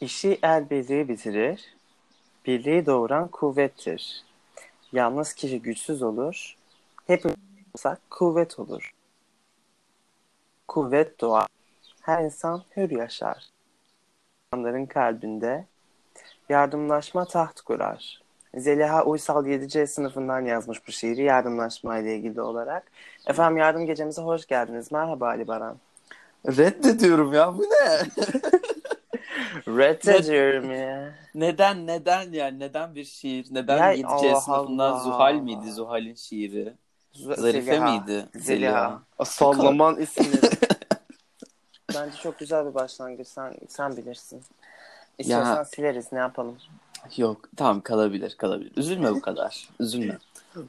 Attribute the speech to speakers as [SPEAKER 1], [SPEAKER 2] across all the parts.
[SPEAKER 1] İşi el birliği bitirir, birliği doğuran kuvvettir. Yalnız kişi güçsüz olur, hep olsak kuvvet olur. Kuvvet doğar, her insan hür yaşar. İnsanların kalbinde yardımlaşma taht kurar. Zeliha Uysal 7C sınıfından yazmış bu şiiri yardımlaşma ile ilgili olarak. Efendim yardım gecemize hoş geldiniz. Merhaba Ali Baran.
[SPEAKER 2] Reddediyorum ya bu ne?
[SPEAKER 1] Reddediyorum ya.
[SPEAKER 2] Neden neden yani neden bir şiir? Neden
[SPEAKER 1] Ya,
[SPEAKER 2] 7C
[SPEAKER 1] Allah
[SPEAKER 2] sınıfından
[SPEAKER 1] Allah.
[SPEAKER 2] Zuhal miydi Zuhal'in şiiri? Zarife
[SPEAKER 1] Zeliha.
[SPEAKER 2] miydi?
[SPEAKER 1] Zeliha. Sallaman isimleri. Bence çok güzel bir başlangıç. Sen, sen bilirsin. İstiyorsan
[SPEAKER 2] Ya.
[SPEAKER 1] sileriz ne yapalım.
[SPEAKER 2] Yok tamam kalabilir kalabilir. Üzülme bu kadar. Üzülme.
[SPEAKER 1] Ee,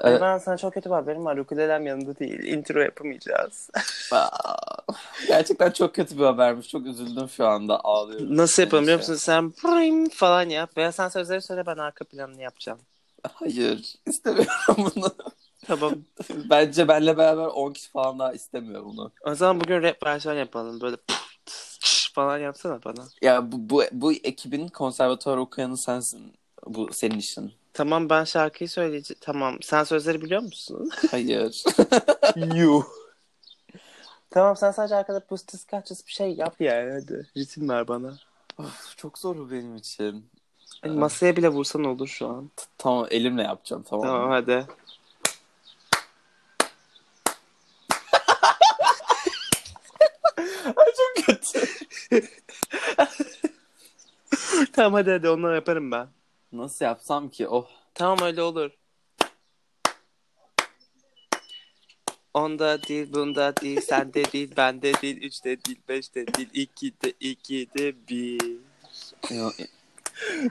[SPEAKER 2] Evet.
[SPEAKER 1] Ben sana çok kötü bir haberim var. Ukulelem yanında değil. Intro yapamayacağız.
[SPEAKER 2] Aa, Gerçekten çok kötü bir habermiş. Çok üzüldüm şu anda ağlıyorum.
[SPEAKER 1] Nasıl yapalım biliyor
[SPEAKER 2] Neyse.
[SPEAKER 1] musun? Sen prim falan yap. Veya sen sözleri söyle ben arka planını yapacağım.
[SPEAKER 2] Hayır istemiyorum bunu.
[SPEAKER 1] Tamam.
[SPEAKER 2] Bence benle beraber 10 kişi falan daha istemiyor bunu.
[SPEAKER 1] O zaman bugün rap versiyon yapalım. Böyle falan yapsana bana.
[SPEAKER 2] Ya bu, bu, bu ekibin konservatuvar okuyanı sensin. Bu senin işin.
[SPEAKER 1] Tamam ben şarkıyı söyleyeceğim. Tamam sen sözleri biliyor musun?
[SPEAKER 2] Hayır.
[SPEAKER 1] Yuh. Tamam sen sadece arkada pustis kaçız bir şey yap yani hadi. Ritim ver bana.
[SPEAKER 2] Of, çok zor bu benim için.
[SPEAKER 1] Hani masaya bile vursan olur şu an.
[SPEAKER 2] Tamam elimle yapacağım tamam.
[SPEAKER 1] Tamam
[SPEAKER 2] mı?
[SPEAKER 1] hadi.
[SPEAKER 2] Çok kötü.
[SPEAKER 1] tamam hadi hadi onları yaparım ben.
[SPEAKER 2] Nasıl yapsam ki? Oh.
[SPEAKER 1] Tamam öyle olur. Onda değil, bunda değil, sende değil, bende değil, üçte değil, beşte değil, ikide, ikide bir.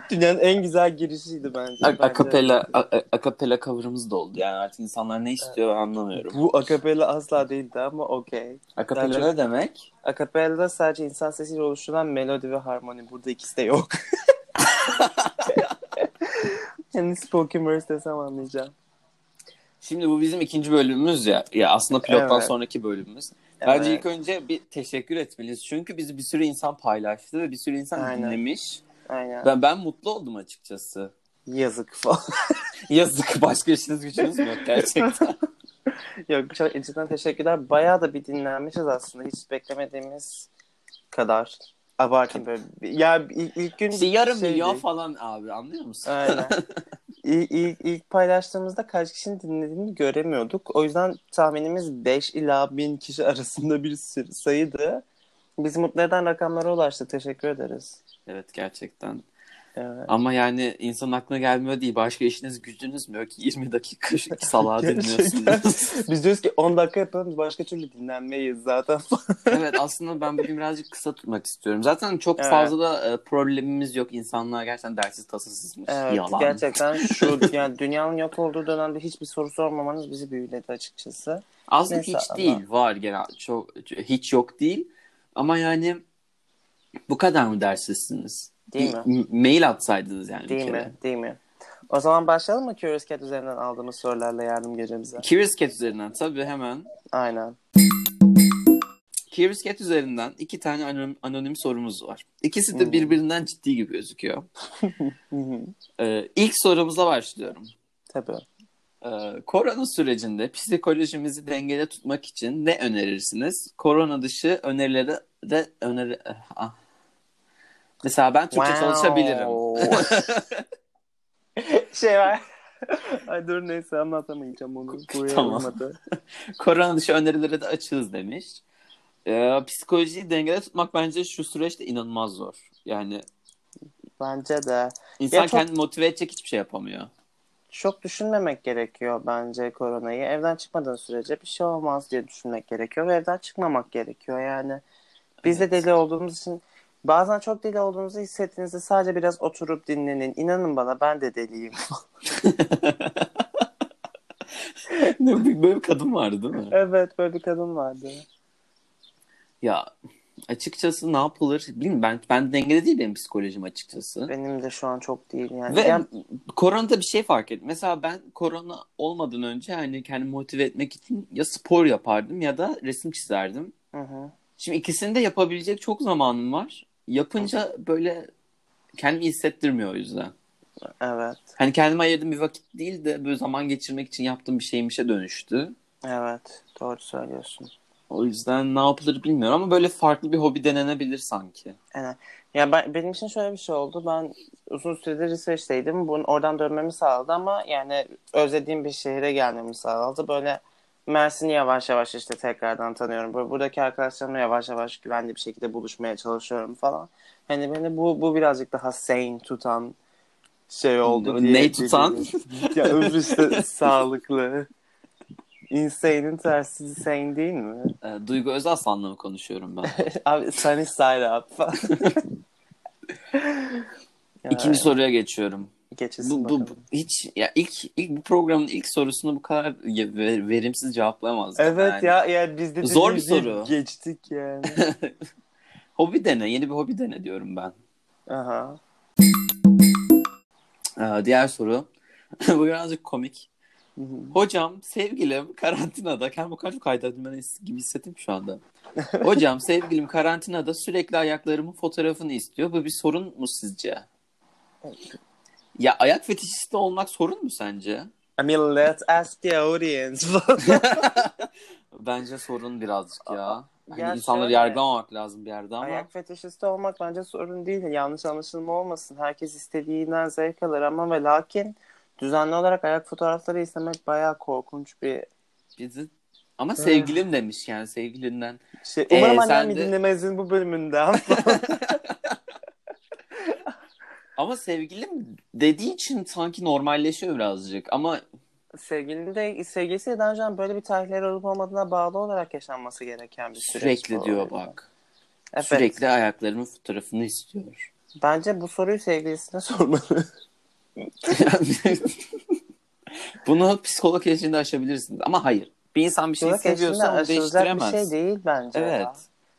[SPEAKER 1] Dünyanın en güzel girişiydi bence.
[SPEAKER 2] A-
[SPEAKER 1] Bence-
[SPEAKER 2] akapela a- a- akapela cover'ımız da oldu. Yani artık insanlar ne istiyor ben anlamıyorum.
[SPEAKER 1] Bu akapella asla değildi ama okey.
[SPEAKER 2] Akapela
[SPEAKER 1] Bence-
[SPEAKER 2] ne demek?
[SPEAKER 1] Akapella sadece insan sesiyle oluşturulan melodi ve harmoni. Burada ikisi de yok. yani Hani spoken words desem anlayacağım.
[SPEAKER 2] Şimdi bu bizim ikinci bölümümüz ya. Ya aslında pilottan
[SPEAKER 1] Evet.
[SPEAKER 2] sonraki bölümümüz. Bence
[SPEAKER 1] Evet,
[SPEAKER 2] ilk önce bir teşekkür etmeliyiz. Çünkü bizi bir sürü insan paylaştı ve bir sürü insan
[SPEAKER 1] Aynen.
[SPEAKER 2] dinlemiş.
[SPEAKER 1] Aynen.
[SPEAKER 2] Ben, ben mutlu oldum açıkçası.
[SPEAKER 1] Yazık falan.
[SPEAKER 2] Yazık başka işiniz gücünüz mü yok gerçekten.
[SPEAKER 1] Yok çok içinden teşekkürler. Bayağı da bir dinlenmişiz aslında. Hiç beklemediğimiz kadar. Abartın böyle. Ya ilk, ilk gün şey
[SPEAKER 2] İşte yarım
[SPEAKER 1] şeydi.
[SPEAKER 2] milyon falan abi anlıyor musun?
[SPEAKER 1] Aynen. İlk, ilk, ilk paylaştığımızda kaç kişinin dinlediğini göremiyorduk. O yüzden tahminimiz 5 ila 1000 kişi arasında bir sır- sayıydı. Biz mutlu eden rakamlara ulaştık. Teşekkür ederiz.
[SPEAKER 2] Evet gerçekten.
[SPEAKER 1] Evet.
[SPEAKER 2] Ama yani insanın aklına gelmiyor değil. Başka işiniz gücünüz mü yok? 20 dakika şu salağı dinliyorsunuz.
[SPEAKER 1] Biz diyoruz ki 10 dakika yapalım biz başka türlü dinlenmeyiz zaten.
[SPEAKER 2] evet aslında ben bugün birazcık kısa tutmak istiyorum. Zaten çok
[SPEAKER 1] Evet.
[SPEAKER 2] fazla da e, problemimiz yok. İnsanlar gerçekten dersiz tasasızmış.
[SPEAKER 1] evet,
[SPEAKER 2] Yalan.
[SPEAKER 1] gerçekten şu yani dünyanın yok olduğu dönemde hiçbir soru sormamanız bizi büyüledi açıkçası.
[SPEAKER 2] Aslında
[SPEAKER 1] Neyse
[SPEAKER 2] hiç
[SPEAKER 1] ama-
[SPEAKER 2] değil. Var genel. Çok, hiç yok değil. Ama yani bu kadar mı dersizsiniz?
[SPEAKER 1] Değil
[SPEAKER 2] Bir- m- mail atsaydınız yani
[SPEAKER 1] Değil
[SPEAKER 2] bir kere.
[SPEAKER 1] mi? Değil mi? O zaman başlayalım mı Curious Cat üzerinden aldığımız sorularla yardım gecemize?
[SPEAKER 2] Curious Cat üzerinden tabii hemen.
[SPEAKER 1] Aynen.
[SPEAKER 2] Curious Cat üzerinden iki tane anonim, anonim sorumuz var. İkisi
[SPEAKER 1] Hmm.
[SPEAKER 2] de birbirinden ciddi gibi gözüküyor.
[SPEAKER 1] Hı hı.
[SPEAKER 2] Ee, ilk sorumuza başlıyorum.
[SPEAKER 1] Tabii.
[SPEAKER 2] Ee, korona sürecinde psikolojimizi dengede tutmak için ne önerirsiniz? Korona dışı önerileri de öneri... Ah. Mesela ben Türkçe çalışabilirim.
[SPEAKER 1] şey var. Ay dur neyse anlatamayacağım onu. Buraya
[SPEAKER 2] Tamam.
[SPEAKER 1] olmadı.
[SPEAKER 2] Korona dışı önerileri de açığız demiş. Ee, psikolojiyi dengede tutmak bence şu süreçte inanılmaz zor. Yani
[SPEAKER 1] Bence de.
[SPEAKER 2] insan
[SPEAKER 1] çok-
[SPEAKER 2] kendini motive edecek hiçbir şey yapamıyor.
[SPEAKER 1] Çok düşünmemek gerekiyor bence koronayı. Evden çıkmadığın sürece bir şey olmaz diye düşünmek gerekiyor. Ve evden çıkmamak gerekiyor yani. Biz de deli olduğumuz için bazen çok deli olduğunuzu hissettiğinizde sadece biraz oturup dinlenin. İnanın bana ben de deliyim.
[SPEAKER 2] Ne, bir- Böyle bir kadın vardı değil mi?
[SPEAKER 1] evet böyle bir kadın vardı.
[SPEAKER 2] Ya açıkçası ne yapılır bilmiyorum ben ben dengede değil benim psikolojim açıkçası.
[SPEAKER 1] Benim de şu an çok değil yani.
[SPEAKER 2] Ve
[SPEAKER 1] Yani-
[SPEAKER 2] koronada bir şey fark ettim. Mesela ben korona olmadan önce hani kendimi motive etmek için ya spor yapardım ya da resim çizerdim.
[SPEAKER 1] Hı hı.
[SPEAKER 2] Şimdi ikisini de yapabilecek çok zamanım var. yapınca böyle kendimi hissettirmiyor o yüzden.
[SPEAKER 1] Evet.
[SPEAKER 2] Hani kendime ayırdığım bir vakit değil de böyle zaman geçirmek için yaptığım bir şeymişe dönüştü.
[SPEAKER 1] Evet. Doğru söylüyorsun.
[SPEAKER 2] O yüzden ne yapılır bilmiyorum ama böyle farklı bir hobi denenebilir sanki.
[SPEAKER 1] Ya ben, benim için şöyle bir şey oldu. Ben uzun süredir İsveç'teydim. Bunun oradan dönmemi sağladı ama yani özlediğim bir şehre gelmemi sağladı. Böyle Mersin'i yavaş yavaş işte tekrardan tanıyorum. Böyle buradaki arkadaşlarımla yavaş yavaş güvenli bir şekilde buluşmaya çalışıyorum falan. Hani beni bu bu birazcık daha sane tutan şey oldu
[SPEAKER 2] Ne
[SPEAKER 1] diye.
[SPEAKER 2] Hani tutan?
[SPEAKER 1] düşünüyorum. ya öbür işte sağlıklı. Insane'in tersi sane değil mi?
[SPEAKER 2] Ee, Duygu Özaslan'la mı konuşuyorum ben?
[SPEAKER 1] Abi sunny side up. Ya,
[SPEAKER 2] İkinci soruya geçiyorum.
[SPEAKER 1] geçilsin
[SPEAKER 2] Bu, bu,
[SPEAKER 1] bakalım.
[SPEAKER 2] hiç ya ilk ilk bu programın ilk sorusunu bu kadar ye- ve- verimsiz cevaplayamazdım.
[SPEAKER 1] Evet
[SPEAKER 2] yani.
[SPEAKER 1] ya yani biz de
[SPEAKER 2] Zor bir
[SPEAKER 1] dediğimizi
[SPEAKER 2] soru.
[SPEAKER 1] Geçtik yani.
[SPEAKER 2] Hobi dene, yeni bir hobi dene diyorum ben.
[SPEAKER 1] Aha.
[SPEAKER 2] Ee, diğer soru. bu birazcık komik.
[SPEAKER 1] Hı hı.
[SPEAKER 2] Hocam, sevgilim karantinada. Kendimi o kadar çok kaydetmeni gibi hissettim şu anda. Hocam, sevgilim karantinada sürekli ayaklarımın fotoğrafını istiyor. Bu bir sorun mu sizce? Ya ayak fetişisti olmak sorun mu sence?
[SPEAKER 1] I mean let's ask the audience.
[SPEAKER 2] Bence sorun birazcık ya. Hani
[SPEAKER 1] Ya
[SPEAKER 2] insanları
[SPEAKER 1] şöyle.
[SPEAKER 2] yargılamamak lazım bir yerde ama.
[SPEAKER 1] Ayak fetişisti olmak bence sorun değil. Yanlış anlaşılma olmasın. Herkes istediğinden zevk alır ama ve lakin düzenli olarak ayak fotoğrafları istemek bayağı korkunç bir
[SPEAKER 2] Bizi... Ama sevgilim demiş yani sevgilinden.
[SPEAKER 1] şey.
[SPEAKER 2] Ee,
[SPEAKER 1] Umarım
[SPEAKER 2] sen
[SPEAKER 1] annem
[SPEAKER 2] de-
[SPEAKER 1] dinlemezsin bu bölümünden.
[SPEAKER 2] Ama sevgilim dediği için sanki normalleşiyor birazcık. Ama
[SPEAKER 1] Sevgilinin de sevgilisi daha önce hani böyle bir tarihleri olup olmadığına bağlı olarak yaşanması gereken bir süreç.
[SPEAKER 2] sürekli
[SPEAKER 1] bu.
[SPEAKER 2] diyor bak.
[SPEAKER 1] Evet.
[SPEAKER 2] Sürekli ayaklarımın fotoğrafını istiyor.
[SPEAKER 1] Bence bu soruyu sevgilisine sormalı.
[SPEAKER 2] Yani- Bunu psikolog eşliğinde aşabilirsiniz. Ama hayır. Bir insan bir şey
[SPEAKER 1] Kulak
[SPEAKER 2] seviyorsa onu
[SPEAKER 1] aşılacak bir
[SPEAKER 2] değiştiremez.
[SPEAKER 1] şey değil bence. ya.
[SPEAKER 2] evet.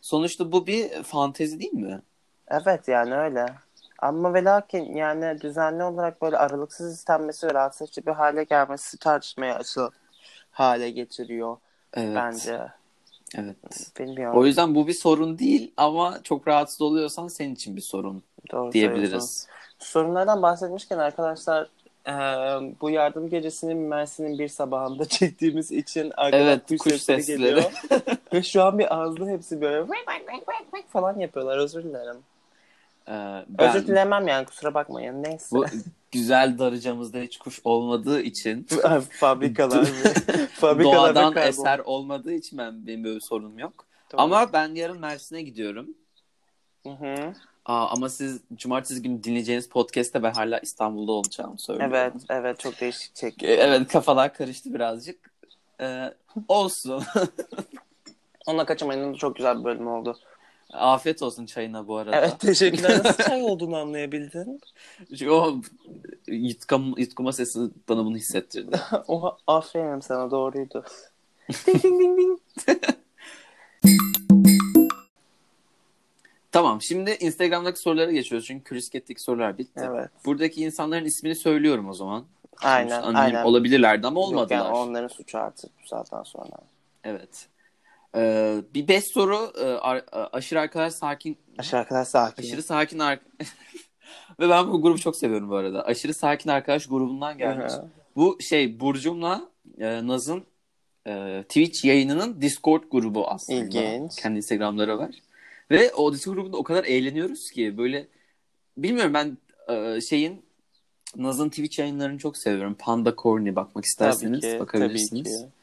[SPEAKER 2] Sonuçta bu bir fantezi değil mi?
[SPEAKER 1] Evet yani öyle. Ama ve lakin yani düzenli olarak böyle aralıksız istenmesi ve rahatsız edici bir hale gelmesi tartışmaya açılan hale getiriyor
[SPEAKER 2] Evet.
[SPEAKER 1] bence.
[SPEAKER 2] Evet.
[SPEAKER 1] Bilmiyorum.
[SPEAKER 2] O yüzden bu bir sorun değil ama çok rahatsız oluyorsan senin için bir sorun
[SPEAKER 1] Doğru söylüyorsun.
[SPEAKER 2] diyebiliriz.
[SPEAKER 1] Sorunlardan bahsetmişken arkadaşlar eee, bu yardım gecesini Mersin'in bir sabahında çektiğimiz için arkadan
[SPEAKER 2] Evet,
[SPEAKER 1] kuş,
[SPEAKER 2] kuş
[SPEAKER 1] sesleri,
[SPEAKER 2] sesleri.
[SPEAKER 1] geliyor. Ve şu an bir ağızlı hepsi böyle falan yapıyorlar özür dilerim.
[SPEAKER 2] Ee,
[SPEAKER 1] Özür
[SPEAKER 2] ben
[SPEAKER 1] dilemem yani kusura bakmayın neyse.
[SPEAKER 2] bu güzel darıcamızda hiç kuş olmadığı için
[SPEAKER 1] Fabrikalar mı? Fabrikalarda
[SPEAKER 2] doğadan
[SPEAKER 1] kaybol-
[SPEAKER 2] eser olmadığı için ben benim böyle bir sorunum yok.
[SPEAKER 1] Doğru.
[SPEAKER 2] Ama ben yarın Mersin'e gidiyorum.
[SPEAKER 1] Hı hı.
[SPEAKER 2] Aa, ama siz cumartesi günü dinleyeceğiniz podcast'te ben hala İstanbul'da olacağımı söylüyorum.
[SPEAKER 1] Evet, evet çok değişik çek.
[SPEAKER 2] E, Evet kafalar karıştı birazcık. Ee, olsun.
[SPEAKER 1] Onunla kaçamayın çok güzel bir bölüm oldu.
[SPEAKER 2] Afiyet olsun çayına bu arada.
[SPEAKER 1] Evet teşekkürler. Nasıl çay olduğunu anlayabildin?
[SPEAKER 2] Çünkü o yutkam, yutkuma sesi bana bunu hissettirdi.
[SPEAKER 1] Oha aferin sana doğruydu. ding ding ding ding.
[SPEAKER 2] tamam şimdi Instagram'daki sorulara geçiyoruz. Çünkü Krisket'teki sorular bitti.
[SPEAKER 1] Evet.
[SPEAKER 2] Buradaki insanların ismini söylüyorum o zaman.
[SPEAKER 1] Aynen,
[SPEAKER 2] Anonim
[SPEAKER 1] aynen.
[SPEAKER 2] Hani Olabilirlerdi ama
[SPEAKER 1] Yok
[SPEAKER 2] olmadılar.
[SPEAKER 1] yani onların suçu artık bu saatten sonra.
[SPEAKER 2] Evet. Ee, bir beş soru e, ar- a- aşırı arkadaş sakin
[SPEAKER 1] Aşağı kadar sakin.
[SPEAKER 2] aşırı sakin ar- ve ben bu grubu çok seviyorum bu arada. Aşırı sakin arkadaş grubundan gelmiş.
[SPEAKER 1] Hı hı.
[SPEAKER 2] bu şey Burcum'la e, Naz'ın e, Twitch yayınının Discord grubu aslında.
[SPEAKER 1] İlginç.
[SPEAKER 2] Kendi Instagram'ları var. Ve o Discord grubunda o kadar eğleniyoruz ki böyle bilmiyorum ben e, şeyin Naz'ın Twitch yayınlarını çok seviyorum. Panda Corny bakmak isterseniz
[SPEAKER 1] tabii ki,
[SPEAKER 2] bakabilirsiniz.
[SPEAKER 1] Tabii ki.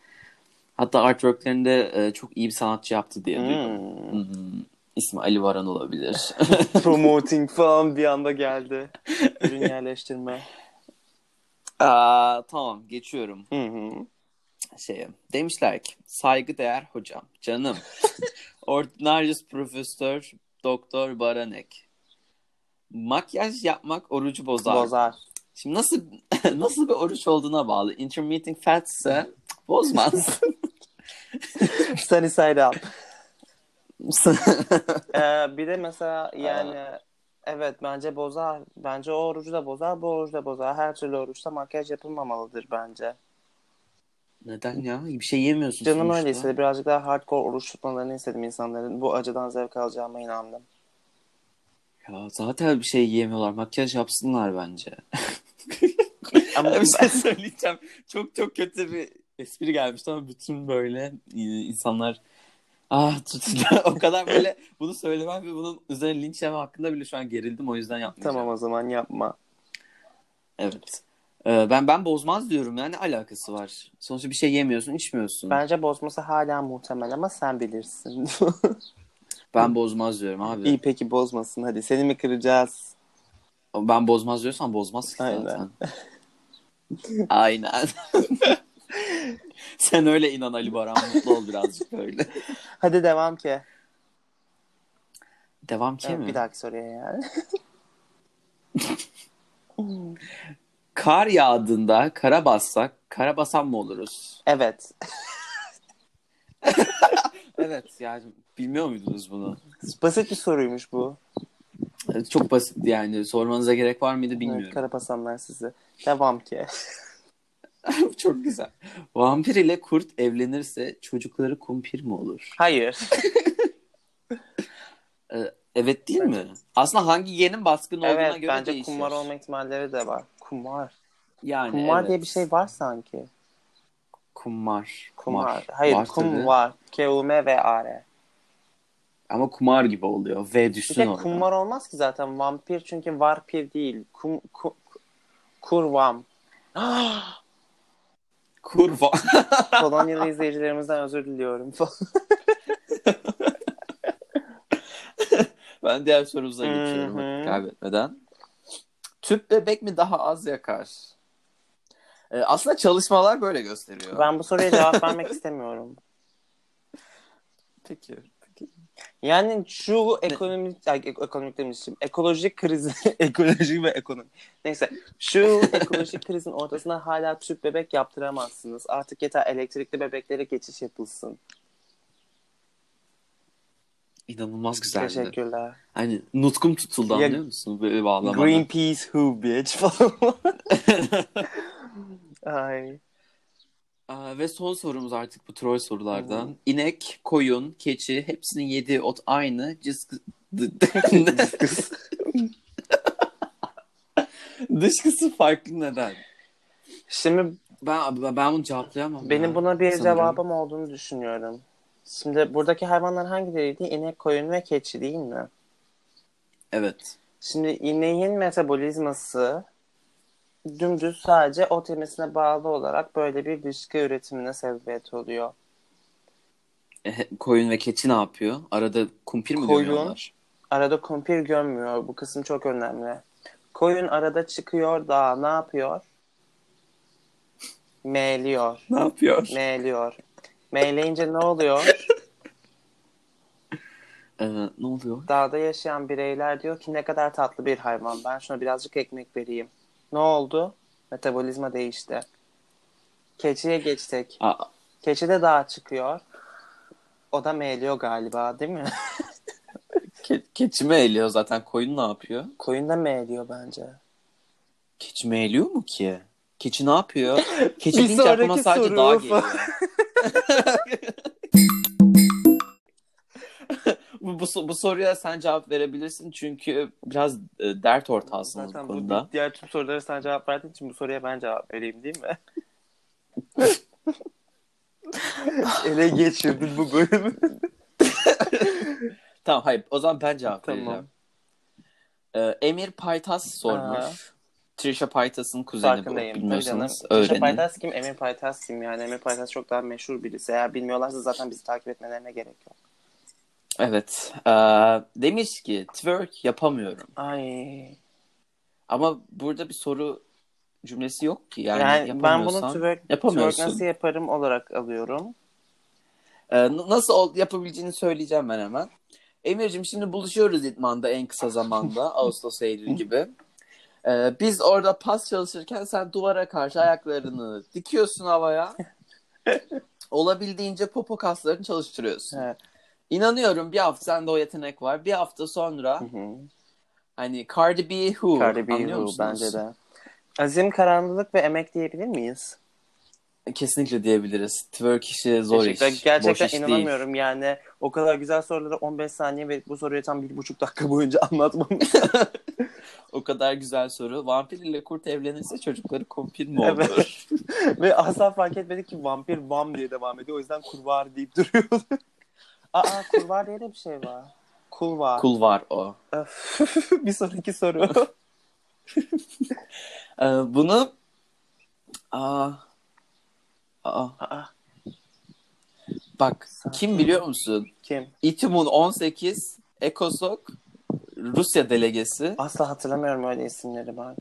[SPEAKER 2] Hatta artworklerinde e, çok iyi bir sanatçı yaptı diye duydum.
[SPEAKER 1] Hmm.
[SPEAKER 2] Hmm, İsmi Ali Varan olabilir.
[SPEAKER 1] Promoting falan bir anda geldi. Ürün yerleştirme.
[SPEAKER 2] Aa, tamam geçiyorum
[SPEAKER 1] Hı hı.
[SPEAKER 2] şeye. Demişler ki saygıdeğer hocam canım. Ordinarius Profesör Doktor Baranek. Makyaj yapmak orucu bozar.
[SPEAKER 1] Bozar.
[SPEAKER 2] Şimdi nasıl nasıl bir oruç olduğuna bağlı. Intermittent fast ise bozmaz.
[SPEAKER 1] Sunny side up. Ee, bir de mesela yani evet bence bozar. Bence o orucu da bozar, bu orucu da bozar. Her türlü oruçta makyaj yapılmamalıdır bence.
[SPEAKER 2] Neden ya? Bir şey yemiyorsun
[SPEAKER 1] Canım
[SPEAKER 2] sonuçta.
[SPEAKER 1] öyle istedi. Birazcık daha hardcore oruç tutmalarını istedim insanların. Bu acıdan zevk alacağıma inandım.
[SPEAKER 2] Ya zaten bir şey yiyemiyorlar. Makyaj yapsınlar bence.
[SPEAKER 1] Ama
[SPEAKER 2] bir şey söyleyeceğim. Çok çok kötü bir espri gelmişti ama bütün böyle e, insanlar ah tutun. o kadar böyle bunu söylemem ve bunun üzerine linç yeme hakkında bile şu an gerildim. O yüzden yapmayacağım.
[SPEAKER 1] tamam o zaman yapma.
[SPEAKER 2] Evet. Ee, ben ben bozmaz diyorum yani alakası var. Sonuçta bir şey yemiyorsun, içmiyorsun. Ben,
[SPEAKER 1] Bence bozması hala muhtemel ama sen bilirsin.
[SPEAKER 2] bozmaz diyorum abi.
[SPEAKER 1] İyi peki bozmasın hadi. Seni mi kıracağız?
[SPEAKER 2] Ben bozmaz diyorsan bozmaz ki zaten. Aynen. Sen öyle inan Ali Baran mutlu ol birazcık böyle.
[SPEAKER 1] Hadi devam ki.
[SPEAKER 2] Devam ki
[SPEAKER 1] Evet,
[SPEAKER 2] mi?
[SPEAKER 1] bir dahaki soruya yani.
[SPEAKER 2] Kar yağdığında kara bassak kara basan mı oluruz?
[SPEAKER 1] evet.
[SPEAKER 2] Evet yani bilmiyor muydunuz bunu?
[SPEAKER 1] Basit bir soruymuş bu.
[SPEAKER 2] Çok basit yani sormanıza gerek var mıydı bilmiyorum.
[SPEAKER 1] Evet, karapasanlar sizi. Devam ki.
[SPEAKER 2] Çok güzel. Vampir ile kurt evlenirse çocukları kumpir mi olur?
[SPEAKER 1] Hayır.
[SPEAKER 2] Evet değil mi? Aslında hangi yeğenin baskın olduğuna
[SPEAKER 1] evet
[SPEAKER 2] göre
[SPEAKER 1] bence
[SPEAKER 2] değişir.
[SPEAKER 1] kumar olma ihtimalleri de var. Kumar.
[SPEAKER 2] Yani
[SPEAKER 1] Kumar
[SPEAKER 2] evet.
[SPEAKER 1] diye bir şey var sanki.
[SPEAKER 2] Kumar.
[SPEAKER 1] Kumar. Hayır
[SPEAKER 2] Var
[SPEAKER 1] kum
[SPEAKER 2] tabii.
[SPEAKER 1] var. K-U-M ve A-R.
[SPEAKER 2] Ama kumar gibi oluyor. V
[SPEAKER 1] Bir
[SPEAKER 2] düşsün
[SPEAKER 1] tek
[SPEAKER 2] orada.
[SPEAKER 1] kumar olmaz ki zaten. Vampir çünkü varpir değil. Kum, ku, kurvam.
[SPEAKER 2] Kurva.
[SPEAKER 1] Polonyalı izleyicilerimizden özür diliyorum.
[SPEAKER 2] ben diğer sorumuza
[SPEAKER 1] Hı hı.
[SPEAKER 2] geçiyorum vakit kaybetmeden. Tüp bebek mi daha az yakar? Ee, aslında çalışmalar böyle gösteriyor.
[SPEAKER 1] ben bu soruya cevap vermek istemiyorum.
[SPEAKER 2] Peki. peki.
[SPEAKER 1] Yani şu ekonomik, ay, ek- ekonomik demişim, ekolojik krizi, ekoloji ve ekonomi. Neyse, şu ekolojik krizin ortasında hala tüp bebek yaptıramazsınız. Artık yeter elektrikli bebeklere geçiş yapılsın.
[SPEAKER 2] İnanılmaz güzeldi.
[SPEAKER 1] Teşekkürler.
[SPEAKER 2] Hani nutkum tutuldu
[SPEAKER 1] Ya-
[SPEAKER 2] anlıyor musun? Böyle bağlamada.
[SPEAKER 1] Greenpeace who bitch falan. Ay.
[SPEAKER 2] Aa, ve son sorumuz artık bu troll sorulardan. İnek, koyun, keçi hepsinin yediği ot aynı. Cızkı... d- Dışkısı farklı neden?
[SPEAKER 1] Şimdi
[SPEAKER 2] Ben ben ben bunu cevaplayamam.
[SPEAKER 1] benim
[SPEAKER 2] ya.
[SPEAKER 1] buna bir
[SPEAKER 2] sanırım.
[SPEAKER 1] cevabım olduğunu düşünüyorum. Şimdi buradaki hayvanlar hangileriydi? İnek, koyun ve keçi değil mi?
[SPEAKER 2] Evet.
[SPEAKER 1] Şimdi ineğin metabolizması dümdüz sadece ot yemesine bağlı olarak böyle bir dışkı üretimine sebebiyet oluyor.
[SPEAKER 2] E, he- koyun ve keçi ne yapıyor? Arada kumpir mi
[SPEAKER 1] Koyun.
[SPEAKER 2] dönüyorlar?
[SPEAKER 1] Arada kumpir gömmüyor. Bu kısım çok önemli. Koyun arada çıkıyor da ne yapıyor? Meyliyor.
[SPEAKER 2] Ne yapıyor?
[SPEAKER 1] Meyliyor. Meyleyince ne oluyor?
[SPEAKER 2] Ee, ne oluyor?
[SPEAKER 1] Dağda yaşayan bireyler diyor ki ne kadar tatlı bir hayvan. Ben şuna birazcık ekmek vereyim. Ne oldu? Metabolizma değişti. Keçiye geçtik.
[SPEAKER 2] Aa,
[SPEAKER 1] Keçi de dağa çıkıyor. O da meyliyor galiba değil mi?
[SPEAKER 2] ke- keçi mi eğiliyor zaten? Koyun ne yapıyor?
[SPEAKER 1] Koyun da meyliyor bence.
[SPEAKER 2] Keçi mi eğiliyor mu ki? Keçi ne yapıyor? Keçi
[SPEAKER 1] Bir
[SPEAKER 2] deyince aklıma
[SPEAKER 1] sonraki
[SPEAKER 2] sadece
[SPEAKER 1] soru.
[SPEAKER 2] dağ geliyor. bu, bu, so- bu soruya sen cevap verebilirsin çünkü biraz e, dert ortağısınız bu konuda.
[SPEAKER 1] diğer tüm sorulara sen cevap verdiğin için bu soruya ben cevap vereyim değil mi? Ele geçirdin bu bölümü.
[SPEAKER 2] Tamam hayır o zaman ben cevap
[SPEAKER 1] Tamam.
[SPEAKER 2] vereceğim. Ee, Emir Paytas sormuş.
[SPEAKER 1] Aha.
[SPEAKER 2] Trisha Paytas'ın kuzeni bu.
[SPEAKER 1] Farkındayım. Tabii canım.
[SPEAKER 2] Bilmiyorsanız
[SPEAKER 1] Yaşar
[SPEAKER 2] öğrenin.
[SPEAKER 1] Paytas kim? Emir Paytas kim? Yani Emir Paytas çok daha meşhur birisi. Eğer bilmiyorlarsa zaten bizi takip etmelerine gerek yok.
[SPEAKER 2] Evet. Ee, demiş ki twerk yapamıyorum.
[SPEAKER 1] Ay.
[SPEAKER 2] Ama burada bir soru cümlesi yok ki. Yani,
[SPEAKER 1] Yani, ben bunu
[SPEAKER 2] yapamıyorsan
[SPEAKER 1] twerk, twerk
[SPEAKER 2] yapamıyorsun.
[SPEAKER 1] nasıl yaparım olarak alıyorum.
[SPEAKER 2] Ee, n- nasıl ol- yapabileceğini söyleyeceğim ben hemen. Emir'cim şimdi buluşuyoruz İdman'da en kısa zamanda. Ağustos, Eylül gibi. Ee, biz orada pas çalışırken sen duvara karşı ayaklarını dikiyorsun havaya. Olabildiğince popo kaslarını çalıştırıyorsun.
[SPEAKER 1] Evet.
[SPEAKER 2] İnanıyorum bir hafta sende o yetenek var. Bir hafta sonra
[SPEAKER 1] Hı hı.
[SPEAKER 2] hani Cardi B Who
[SPEAKER 1] Cardi B
[SPEAKER 2] anlıyor
[SPEAKER 1] Who
[SPEAKER 2] musunuz?
[SPEAKER 1] bence de. Azim karanlılık ve emek diyebilir miyiz?
[SPEAKER 2] Kesinlikle diyebiliriz. Twerk işi zor
[SPEAKER 1] Gerçekten,
[SPEAKER 2] iş.
[SPEAKER 1] gerçekten
[SPEAKER 2] boş iş değil.
[SPEAKER 1] inanamıyorum yani. O kadar güzel soruları 15 saniye ve bu soruyu tam bir buçuk dakika boyunca anlatmam.
[SPEAKER 2] O kadar güzel soru. Vampir ile kurt evlenirse çocukları kompil mi olur?
[SPEAKER 1] ve asla fark etmedik ki vampir vam diye devam ediyor. O yüzden kurvar deyip duruyordu. Aa kurvar diye de bir şey var. Kulvar.
[SPEAKER 2] Kul var o.
[SPEAKER 1] Öf. bir sonraki soru.
[SPEAKER 2] Ee, bunu Aa. Aa.
[SPEAKER 1] Aa,
[SPEAKER 2] Bak kim biliyor musun?
[SPEAKER 1] kim?
[SPEAKER 2] İtimun 18 Ekosok Rusya delegesi.
[SPEAKER 1] Asla hatırlamıyorum öyle isimleri ben.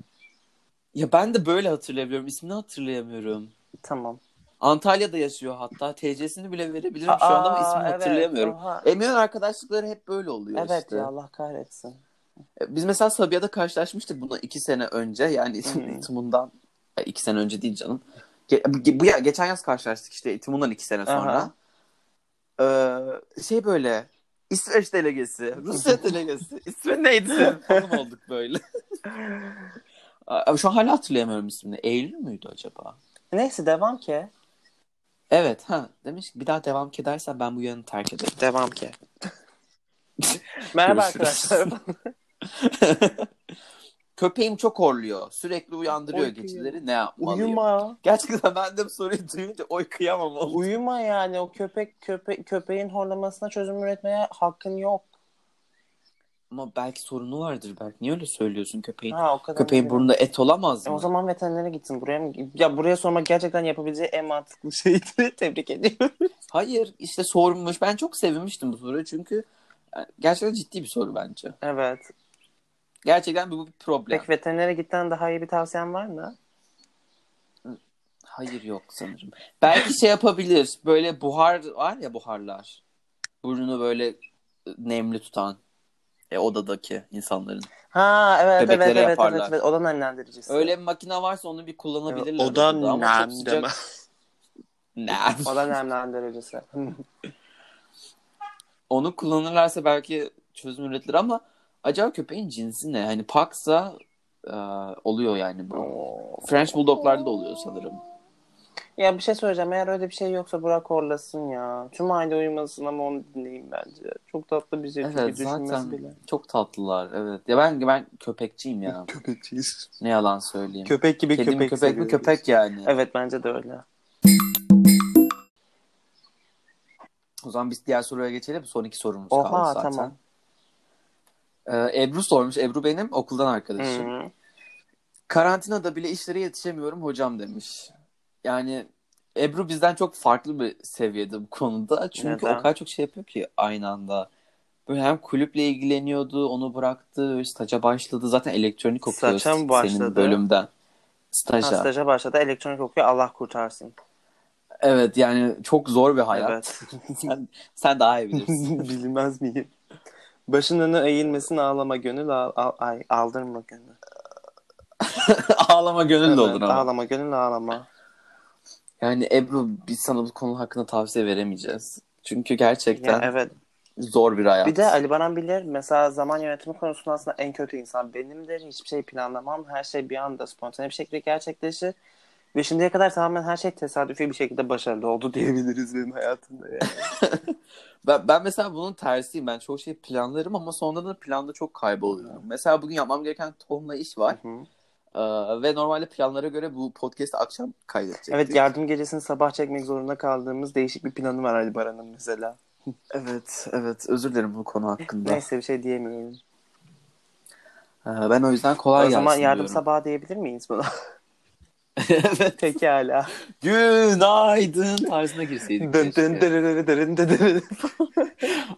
[SPEAKER 2] Ya ben de böyle hatırlayabiliyorum. İsmini hatırlayamıyorum.
[SPEAKER 1] Tamam.
[SPEAKER 2] Antalya'da yaşıyor hatta. TC'sini bile verebilirim şu anda ama ismini
[SPEAKER 1] evet,
[SPEAKER 2] hatırlayamıyorum.
[SPEAKER 1] oha.
[SPEAKER 2] Emir'in arkadaşlıkları hep böyle oluyor
[SPEAKER 1] Evet
[SPEAKER 2] işte.
[SPEAKER 1] ya Allah kahretsin.
[SPEAKER 2] Biz mesela Sabiha'da karşılaşmıştık bundan iki sene önce. Yani
[SPEAKER 1] Hı.
[SPEAKER 2] İtimun'dan Ay, iki sene önce değil canım. Ge- bu ya geçen yaz karşılaştık işte İtimun'dan iki sene sonra. Ee, şey böyle İsveç delegesi, Rusya delegesi. İsmi neydi senin? falan olduk böyle. Aa, Şu an hala hatırlayamıyorum ismini. Eylül müydü acaba?
[SPEAKER 1] Neyse devam ki.
[SPEAKER 2] Evet ha demiş ki bir daha devam edersen ben bu yanı terk ederim.
[SPEAKER 1] Devam ki. Merhaba
[SPEAKER 2] Görüşürüz.
[SPEAKER 1] arkadaşlar.
[SPEAKER 2] Köpeğim çok horluyor. Sürekli uyandırıyor
[SPEAKER 1] Oy,
[SPEAKER 2] geceleri. Ne yapmalıyım?
[SPEAKER 1] Uyuma.
[SPEAKER 2] Gerçekten ben de bu soruyu duyunca oy kıyamam oldum.
[SPEAKER 1] Uyuma yani o köpek köpek köpeğin horlamasına çözüm üretmeye hakkın yok.
[SPEAKER 2] Ama belki sorunu vardır belki. Niye öyle söylüyorsun köpeğin?
[SPEAKER 1] Ha o kadar.
[SPEAKER 2] Köpeğin
[SPEAKER 1] mı
[SPEAKER 2] burnunda et olamaz
[SPEAKER 1] E,
[SPEAKER 2] mı?
[SPEAKER 1] O zaman veterinere gitsin. Buraya mı? Ya buraya sormak gerçekten yapabileceği en mantıklı şeydi. Tebrik ediyorum.
[SPEAKER 2] Hayır işte sormuş. Ben çok sevinmiştim bu soruyu çünkü yani gerçekten ciddi bir soru bence.
[SPEAKER 1] Evet.
[SPEAKER 2] Gerçekten bu bir problem.
[SPEAKER 1] Peki veterinere gitten daha iyi bir tavsiyen var mı?
[SPEAKER 2] Hayır yok sanırım. Belki şey yapabilir. Böyle buhar var ya buharlar. Burnunu böyle e, nemli tutan. E, odadaki insanların.
[SPEAKER 1] Ha evet
[SPEAKER 2] Bebeklere
[SPEAKER 1] evet evet, evet
[SPEAKER 2] yaparlar.
[SPEAKER 1] evet. Oda nemlendiricisi.
[SPEAKER 2] Öyle bir makine varsa onu bir kullanabilirler.
[SPEAKER 1] Oda
[SPEAKER 2] odada ama çok sıcak-
[SPEAKER 1] nemlendirme.
[SPEAKER 2] Nem.
[SPEAKER 1] Oda nemlendiricisi.
[SPEAKER 2] onu kullanırlarsa belki çözüm üretilir ama acaba köpeğin cinsi ne? Hani Paksa e, oluyor yani bu. French Bulldog'larda da oluyor sanırım.
[SPEAKER 1] ya bir şey söyleyeceğim. Eğer öyle bir şey yoksa Burak horlasın ya. Tüm aile uyumasın ama onu dinleyin bence. Çok tatlı bir şey. çünkü
[SPEAKER 2] Evet
[SPEAKER 1] düşünmesi
[SPEAKER 2] zaten
[SPEAKER 1] bile.
[SPEAKER 2] çok tatlılar evet. Ya ben ben köpekçiyim ya.
[SPEAKER 1] Köpekçiyiz.
[SPEAKER 2] Ne yalan söyleyeyim.
[SPEAKER 1] Köpek gibi
[SPEAKER 2] Kedi mi
[SPEAKER 1] köpek
[SPEAKER 2] köpek mi
[SPEAKER 1] seviyoruz.
[SPEAKER 2] köpek yani.
[SPEAKER 1] Evet bence de öyle.
[SPEAKER 2] O zaman biz diğer soruya geçelim. Son iki sorumuz
[SPEAKER 1] Oha,
[SPEAKER 2] kaldı zaten.
[SPEAKER 1] tamam.
[SPEAKER 2] E, Ebru sormuş. Ebru benim okuldan arkadaşım.
[SPEAKER 1] Hı.
[SPEAKER 2] Karantinada bile işlere yetişemiyorum hocam demiş. Yani Ebru bizden çok farklı bir seviyede bu konuda. Çünkü
[SPEAKER 1] Neden?
[SPEAKER 2] o kadar çok şey yapıyor ki aynı anda. Böyle hem kulüple ilgileniyordu, onu bıraktı, staja başladı. Zaten elektronik okuyor
[SPEAKER 1] Staja mı
[SPEAKER 2] senin
[SPEAKER 1] başladı?
[SPEAKER 2] bölümden.
[SPEAKER 1] Ha,
[SPEAKER 2] Staja.
[SPEAKER 1] staja başladı. Elektronik okuyor. Allah kurtarsın.
[SPEAKER 2] Evet yani çok zor bir hayat.
[SPEAKER 1] Evet.
[SPEAKER 2] sen, sen daha iyi bilirsin.
[SPEAKER 1] Bilmez miyim? Başın önüne eğilmesin ağlama gönül al, al- ay aldırma gönül.
[SPEAKER 2] Ağlama gönül de olur
[SPEAKER 1] Evet,
[SPEAKER 2] ama.
[SPEAKER 1] Ağlama gönül ağlama.
[SPEAKER 2] Yani Ebru biz sana bu konu hakkında tavsiye veremeyeceğiz. Çünkü gerçekten
[SPEAKER 1] Ya, evet.
[SPEAKER 2] zor bir hayat.
[SPEAKER 1] Bir de Ali Baran bilir mesela zaman yönetimi konusunda aslında en kötü insan benimdir. Hiçbir şey planlamam. Her şey bir anda spontane bir şekilde gerçekleşir. Ve şimdiye kadar tamamen her şey tesadüfi bir şekilde başarılı oldu diyebiliriz benim hayatımda. Yani.
[SPEAKER 2] Ben, ben mesela bunun tersiyim. Ben çoğu şeyi planlarım ama sonunda da planda çok kayboluyorum. Mesela bugün yapmam gereken tonla iş var.
[SPEAKER 1] Hı hı.
[SPEAKER 2] Ee, ve normalde planlara göre bu podcast'i akşam kaydedecektik.
[SPEAKER 1] evet yardım gecesini sabah çekmek zorunda kaldığımız değişik bir planı var Ali Baran'ın mesela.
[SPEAKER 2] evet, evet. Özür dilerim bu konu hakkında.
[SPEAKER 1] Neyse bir şey diyemiyorum.
[SPEAKER 2] Ee, ben o yüzden kolay
[SPEAKER 1] o
[SPEAKER 2] gelsin
[SPEAKER 1] zaman yardım
[SPEAKER 2] diyorum.
[SPEAKER 1] sabah diyebilir miyiz buna?
[SPEAKER 2] Evet.
[SPEAKER 1] Pekala.
[SPEAKER 2] Günaydın tarzına girseydik.
[SPEAKER 1] Dın
[SPEAKER 2] keşke.
[SPEAKER 1] dın dırırırı dırın dın dırırı.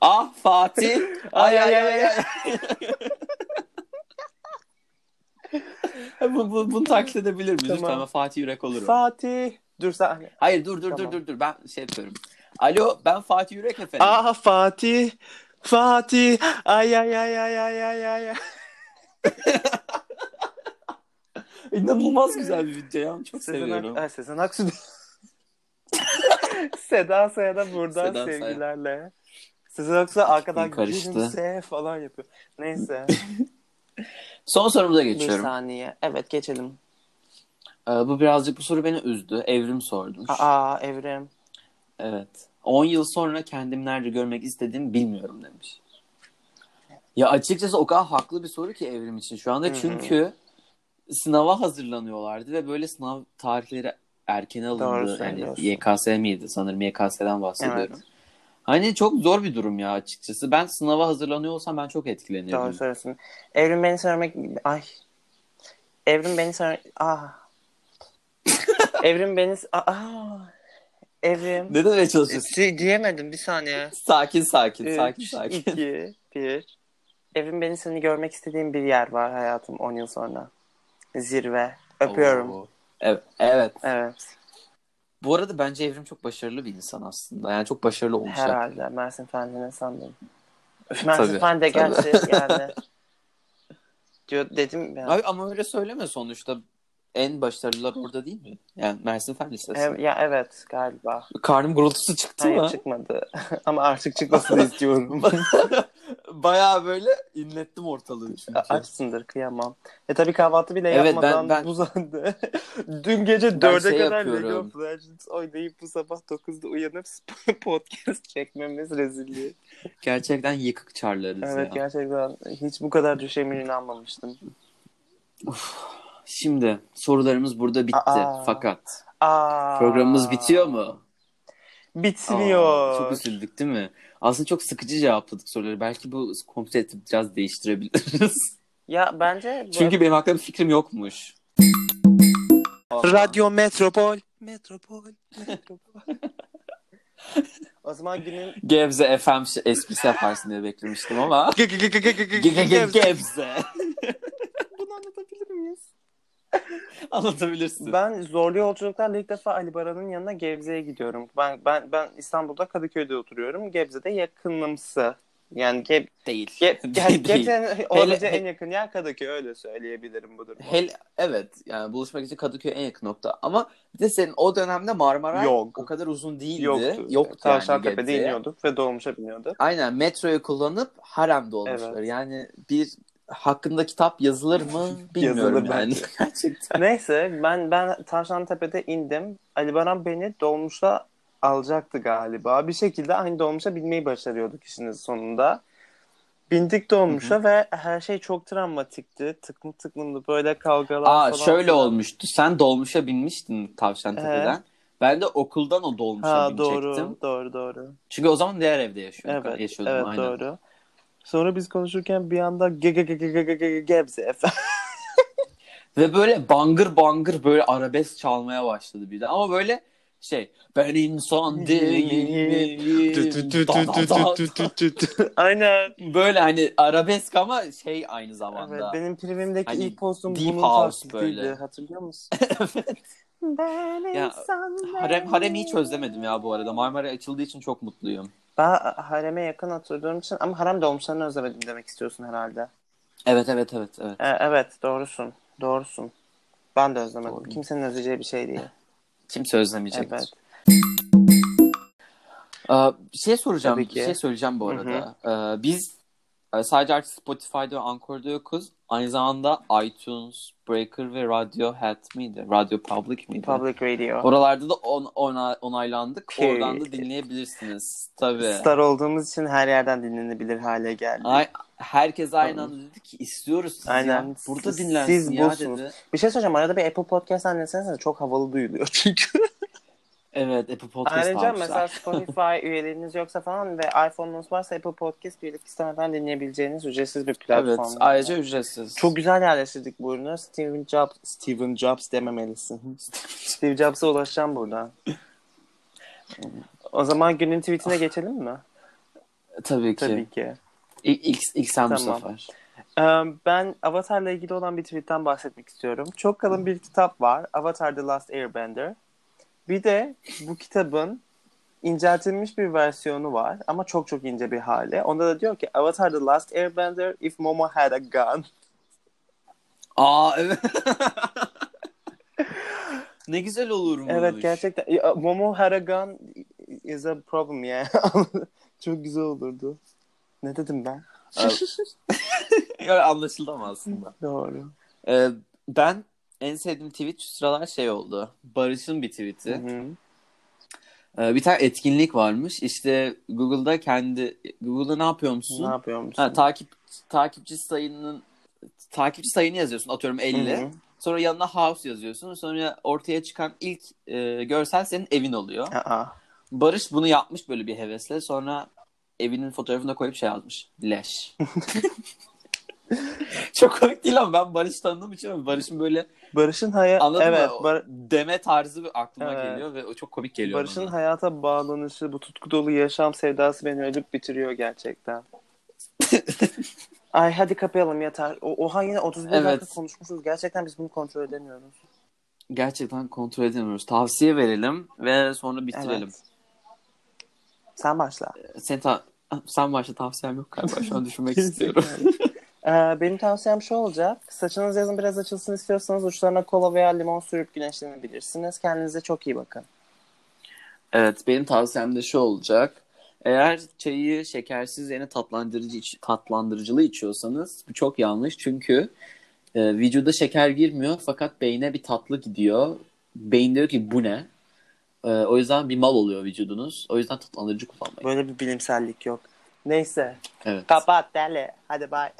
[SPEAKER 2] Ah Fatih. Ay ay ay. ay. bu, bu, bunu taklit edebilir miyiz?
[SPEAKER 1] Tamam.
[SPEAKER 2] Lütfen ben Fatih Yürek olurum.
[SPEAKER 1] Fatih. Dur hani. sen.
[SPEAKER 2] Hayır dur dur
[SPEAKER 1] Tamam.
[SPEAKER 2] dur dur dur ben şey yapıyorum. Alo ben Fatih Yürek efendim.
[SPEAKER 1] Ah Fatih. Fatih. Ay ay ay ay ay ay ay. ay.
[SPEAKER 2] İnanılmaz güzel bir video ya. Çok seviyorum.
[SPEAKER 1] Sezen, Ak- Sezen Aksu. Seda Sayan'a buradan
[SPEAKER 2] Seda Sayan.
[SPEAKER 1] sevgilerle. Sezen Aksu arkadan
[SPEAKER 2] karıştı.
[SPEAKER 1] gülümse falan yapıyor. Neyse.
[SPEAKER 2] Son sorumuza
[SPEAKER 1] Bir
[SPEAKER 2] geçiyorum.
[SPEAKER 1] saniye. Evet geçelim.
[SPEAKER 2] Ee, bu birazcık bu soru beni üzdü. Evrim sormuş.
[SPEAKER 1] Aa Evrim.
[SPEAKER 2] Evet. 10 yıl sonra kendimi nerede görmek istediğimi bilmiyorum demiş. Ya açıkçası o kadar haklı bir soru ki evrim için şu anda.
[SPEAKER 1] hı.
[SPEAKER 2] Çünkü sınava hazırlanıyorlardı ve böyle sınav tarihleri erken alındı. Hani Yani
[SPEAKER 1] söylüyorsun.
[SPEAKER 2] YKS miydi? Sanırım YKS'den bahsediyorum. Hani çok zor bir durum ya açıkçası. Ben sınava hazırlanıyor olsam ben çok
[SPEAKER 1] Doğru
[SPEAKER 2] etkilenirdim.
[SPEAKER 1] söylüyorsun. Evrim beni söylemek... Ay. Evrim beni söylemek... Ah. Evrim beni... Ah. Evrim.
[SPEAKER 2] Ne demeye çalışıyorsun?
[SPEAKER 1] Di- Diyemedim bir saniye.
[SPEAKER 2] Sakin sakin sakin
[SPEAKER 1] Üç,
[SPEAKER 2] sakin.
[SPEAKER 1] iki, bir. Evrim beni seni görmek istediğim bir yer var hayatım 10 yıl sonra. Zirve. Öpüyorum.
[SPEAKER 2] Oo. Evet, evet.
[SPEAKER 1] Evet.
[SPEAKER 2] Bu arada bence Evrim çok başarılı bir insan aslında. Yani çok başarılı olmuş.
[SPEAKER 1] Herhalde. Mersin Fendi'ne sandım. Mersin
[SPEAKER 2] Tabii,
[SPEAKER 1] Fendi de
[SPEAKER 2] tabii.
[SPEAKER 1] gerçi yani. Diyor, dedim ya.
[SPEAKER 2] Abi ama öyle söyleme sonuçta. En başarılılar orada değil mi? Yani Mersin Fen Lisesi.
[SPEAKER 1] Ev- ya evet galiba.
[SPEAKER 2] Karnım gurultusu çıktı
[SPEAKER 1] Hayır
[SPEAKER 2] mı?
[SPEAKER 1] çıkmadı. Ama artık çıkmasını istiyorum.
[SPEAKER 2] Bayağı böyle inlettim ortalığı çünkü.
[SPEAKER 1] Açsındır kıyamam. E tabii kahvaltı bile
[SPEAKER 2] Evet, ben-
[SPEAKER 1] yapmadan
[SPEAKER 2] ben-
[SPEAKER 1] uzandı. Dün gece
[SPEAKER 2] Ben
[SPEAKER 1] 4'e
[SPEAKER 2] şey
[SPEAKER 1] kadar
[SPEAKER 2] yapıyorum.
[SPEAKER 1] League of Legends oynayıp bu sabah 9'da uyanıp podcast çekmemiz rezilliği.
[SPEAKER 2] Gerçekten yıkık çarlarız
[SPEAKER 1] Evet
[SPEAKER 2] ya.
[SPEAKER 1] gerçekten hiç bu kadar düşemin inanmamıştım.
[SPEAKER 2] Şimdi sorularımız burada bitti.
[SPEAKER 1] Aa.
[SPEAKER 2] Fakat
[SPEAKER 1] Aa,
[SPEAKER 2] programımız bitiyor mu?
[SPEAKER 1] Bitmiyor.
[SPEAKER 2] Aa, çok üzüldük değil mi? Aslında çok sıkıcı cevapladık soruları. Belki bu konsepti biraz değiştirebiliriz.
[SPEAKER 1] ya bence bu-
[SPEAKER 2] Çünkü benim hakkında bir fikrim yokmuş.
[SPEAKER 1] Radyo Metropol. Metropol. Metropol. o zaman günün
[SPEAKER 2] Gebze FM şi- esprisi yaparsın diye beklemiştim ama. Gebze.
[SPEAKER 1] Bunu anlatabilir miyiz?
[SPEAKER 2] Anlatabilirsin.
[SPEAKER 1] Ben zorlu yolculuklarla ilk defa Ali Baran'ın yanına Gebze'ye gidiyorum. Ben ben ben İstanbul'da Kadıköy'de oturuyorum. Gebze'de yakınımsı. Yani Geb
[SPEAKER 2] Değil.
[SPEAKER 1] Ge- Ge-
[SPEAKER 2] Değil.
[SPEAKER 1] Gebze'nin olabileceği
[SPEAKER 2] he-
[SPEAKER 1] en yakın yer Kadıköy öyle söyleyebilirim bu durumda.
[SPEAKER 2] Hele, evet yani buluşmak için Kadıköy en yakın nokta ama bir de senin o dönemde Marmara
[SPEAKER 1] Yok.
[SPEAKER 2] o kadar uzun değildi.
[SPEAKER 1] Yoktu.
[SPEAKER 2] Yoktu yani
[SPEAKER 1] Tavşantepe'de
[SPEAKER 2] Gebze'ye.
[SPEAKER 1] iniyorduk ve dolmuşa biniyorduk.
[SPEAKER 2] Aynen metroyu kullanıp haremde olmuşlar.
[SPEAKER 1] Evet.
[SPEAKER 2] Yani bir hakkında kitap yazılır mı bilmiyorum
[SPEAKER 1] Yazılır
[SPEAKER 2] yani.
[SPEAKER 1] bence.
[SPEAKER 2] Gerçekten.
[SPEAKER 1] Neyse ben ben Tavşantepe'de indim. Ali Baran beni dolmuşa alacaktı galiba. Bir şekilde aynı dolmuşa binmeyi başarıyorduk işin sonunda. Bindik dolmuşa ve her şey çok travmatikti. Tıklım tıklımdı böyle kavgalar
[SPEAKER 2] Aa
[SPEAKER 1] falan.
[SPEAKER 2] şöyle
[SPEAKER 1] filan. Ee?
[SPEAKER 2] olmuştu. Sen dolmuşa binmiştin Tavşantepe'den. Ben de okuldan o dolmuşa
[SPEAKER 1] Ha
[SPEAKER 2] binecektim.
[SPEAKER 1] doğru doğru doğru.
[SPEAKER 2] Çünkü o zaman diğer evde yaşıyordum.
[SPEAKER 1] Evet
[SPEAKER 2] yaşıyordum
[SPEAKER 1] evet
[SPEAKER 2] aynen.
[SPEAKER 1] doğru. Sonra biz konuşurken bir anda ge ge ge ge ge ge ge ge- gebze efendim.
[SPEAKER 2] Ve böyle bangır bangır böyle arabesk çalmaya başladı bir de. Ama böyle şey ben insan değilim. Da, da, da.
[SPEAKER 1] Aynen.
[SPEAKER 2] böyle hani arabesk ama şey aynı
[SPEAKER 1] Evet,
[SPEAKER 2] zamanda.
[SPEAKER 1] benim primimdeki
[SPEAKER 2] Hani
[SPEAKER 1] ilk postum
[SPEAKER 2] Deep
[SPEAKER 1] bunun
[SPEAKER 2] House
[SPEAKER 1] taklidiydi.
[SPEAKER 2] böyle.
[SPEAKER 1] Hatırlıyor musun?
[SPEAKER 2] Evet.
[SPEAKER 1] Ben
[SPEAKER 2] Ya,
[SPEAKER 1] insan
[SPEAKER 2] Harem,
[SPEAKER 1] değilim.
[SPEAKER 2] haremi hiç özlemedim ya bu arada. Marmara açıldığı için çok mutluyum.
[SPEAKER 1] Ben hareme yakın oturduğum için ama harem dolmuşlarını özlemedim demek istiyorsun herhalde.
[SPEAKER 2] Evet evet evet evet.
[SPEAKER 1] Ee, evet doğrusun. Doğrusun. Ben de özlemedim.
[SPEAKER 2] Doğru.
[SPEAKER 1] Kimsenin özleyeceği bir şey değil.
[SPEAKER 2] Kimse özlemeyecek.
[SPEAKER 1] Evet.
[SPEAKER 2] Aa, bir şey soracağım.
[SPEAKER 1] Tabii ki.
[SPEAKER 2] Bir şey söyleyeceğim bu
[SPEAKER 1] Hı hı.
[SPEAKER 2] arada. Ee, biz e, sadece artık Spotify'da ve Anchor'da yokuz. Aynı zamanda iTunes, Breaker ve Radiohead miydi? Radio Public miydi?
[SPEAKER 1] Public Radio.
[SPEAKER 2] Oralarda da on, ona- onaylandık.
[SPEAKER 1] Period.
[SPEAKER 2] Oradan da dinleyebilirsiniz. Tabii.
[SPEAKER 1] Star olduğumuz için her yerden dinlenebilir hale geldi.
[SPEAKER 2] Ay, herkes aynı anda dedi ki istiyoruz sizi
[SPEAKER 1] Aynen.
[SPEAKER 2] ya. Burada
[SPEAKER 1] Siz-
[SPEAKER 2] dinlensin
[SPEAKER 1] siz
[SPEAKER 2] ya
[SPEAKER 1] busunuz.
[SPEAKER 2] dedi.
[SPEAKER 1] Bir şey söyleyeceğim. Arada bir Apple Podcast dinleseniz de çok havalı duyuluyor çünkü.
[SPEAKER 2] Evet Apple Podcast
[SPEAKER 1] Ayrıca
[SPEAKER 2] almışlar.
[SPEAKER 1] mesela Spotify üyeliğiniz yoksa falan ve iPhone'unuz varsa Apple Podcast üyelik istemeden dinleyebileceğiniz ücretsiz bir
[SPEAKER 2] Evet.
[SPEAKER 1] platform.
[SPEAKER 2] Ayrıca ücretsiz.
[SPEAKER 1] Çok güzel yerleştirdik bu ürünü. Steven Jobs, Steven Jobs dememelisin. Steve Jobs'a ulaşacağım buradan. O zaman günün tweetine geçelim mi?
[SPEAKER 2] Tabii ki.
[SPEAKER 1] Tabii ki.
[SPEAKER 2] İlk, ilk, ilk sen bu
[SPEAKER 1] Tamam.
[SPEAKER 2] sefer.
[SPEAKER 1] Ee, Ben Avatar'la ilgili olan bir tweetten bahsetmek istiyorum. Çok kalın bir kitap var. Avatar The Last Airbender. Bir de bu kitabın inceltilmiş bir versiyonu var ama çok çok ince bir hali. Onda da diyor ki Avatar The Last Airbender if Momo had a gun.
[SPEAKER 2] Aa evet. ne güzel olur mu?
[SPEAKER 1] Evet gerçekten Ya, Momo had a gun is a problem yani. çok güzel olurdu. Ne dedim ben?
[SPEAKER 2] Ya, anlaşıldı ama aslında.
[SPEAKER 1] Doğru.
[SPEAKER 2] Ee, ben en sevdiğim tweet şu sıralar şey oldu. Barış'ın bir tweeti.
[SPEAKER 1] Hı-hı.
[SPEAKER 2] Ee, bir tane etkinlik varmış. İşte Google'da kendi Google'da ne yapıyor musun?
[SPEAKER 1] Ne yapıyor musun?
[SPEAKER 2] Ha, takip takipçi sayının takipçi sayını yazıyorsun atıyorum 50.
[SPEAKER 1] Hı hı.
[SPEAKER 2] Sonra yanına house yazıyorsun. Sonra ortaya çıkan ilk e, görsel senin evin oluyor.
[SPEAKER 1] Aa,
[SPEAKER 2] Barış bunu yapmış böyle bir hevesle. Sonra evinin fotoğrafına koyup şey yazmış. Leş. Çok komik değil ama ben Barış tanıdığım için ama Barış'ın böyle
[SPEAKER 1] Barış'ın hayat
[SPEAKER 2] Anladın
[SPEAKER 1] evet,
[SPEAKER 2] mı?
[SPEAKER 1] Bar-
[SPEAKER 2] deme tarzı bir aklıma
[SPEAKER 1] Evet.
[SPEAKER 2] geliyor ve o çok komik geliyor
[SPEAKER 1] Barış'ın
[SPEAKER 2] bana.
[SPEAKER 1] hayata bağlanışı, bu tutku dolu yaşam sevdası beni ölüp bitiriyor gerçekten. Ay hadi kapayalım yeter. O, Oha yine 31 dakika
[SPEAKER 2] Evet.
[SPEAKER 1] konuşmuşuz. Gerçekten biz bunu kontrol edemiyoruz.
[SPEAKER 2] Gerçekten kontrol edemiyoruz. Tavsiye verelim ve sonra bitirelim.
[SPEAKER 1] Evet. Sen başla.
[SPEAKER 2] Sen, ta- sen başta tavsiyem yok galiba. Şu an düşünmek istiyorum.
[SPEAKER 1] Ee, benim tavsiyem şu olacak. Saçınız yazın biraz açılsın istiyorsanız uçlarına kola veya limon sürüp güneşlenebilirsiniz. Kendinize çok iyi bakın.
[SPEAKER 2] Evet benim tavsiyem de şu olacak. Eğer çayı şekersiz yerine tatlandırıcı iç- tatlandırıcılı içiyorsanız bu çok yanlış. Çünkü e, vücuda şeker girmiyor fakat beyne bir tatlı gidiyor. Beyin diyor ki bu ne? E, o yüzden bir mal oluyor vücudunuz. O yüzden tatlandırıcı kullanmayın.
[SPEAKER 1] Böyle bir bilimsellik yok. Neyse.
[SPEAKER 2] Evet.
[SPEAKER 1] Kapat deli. Hadi bay.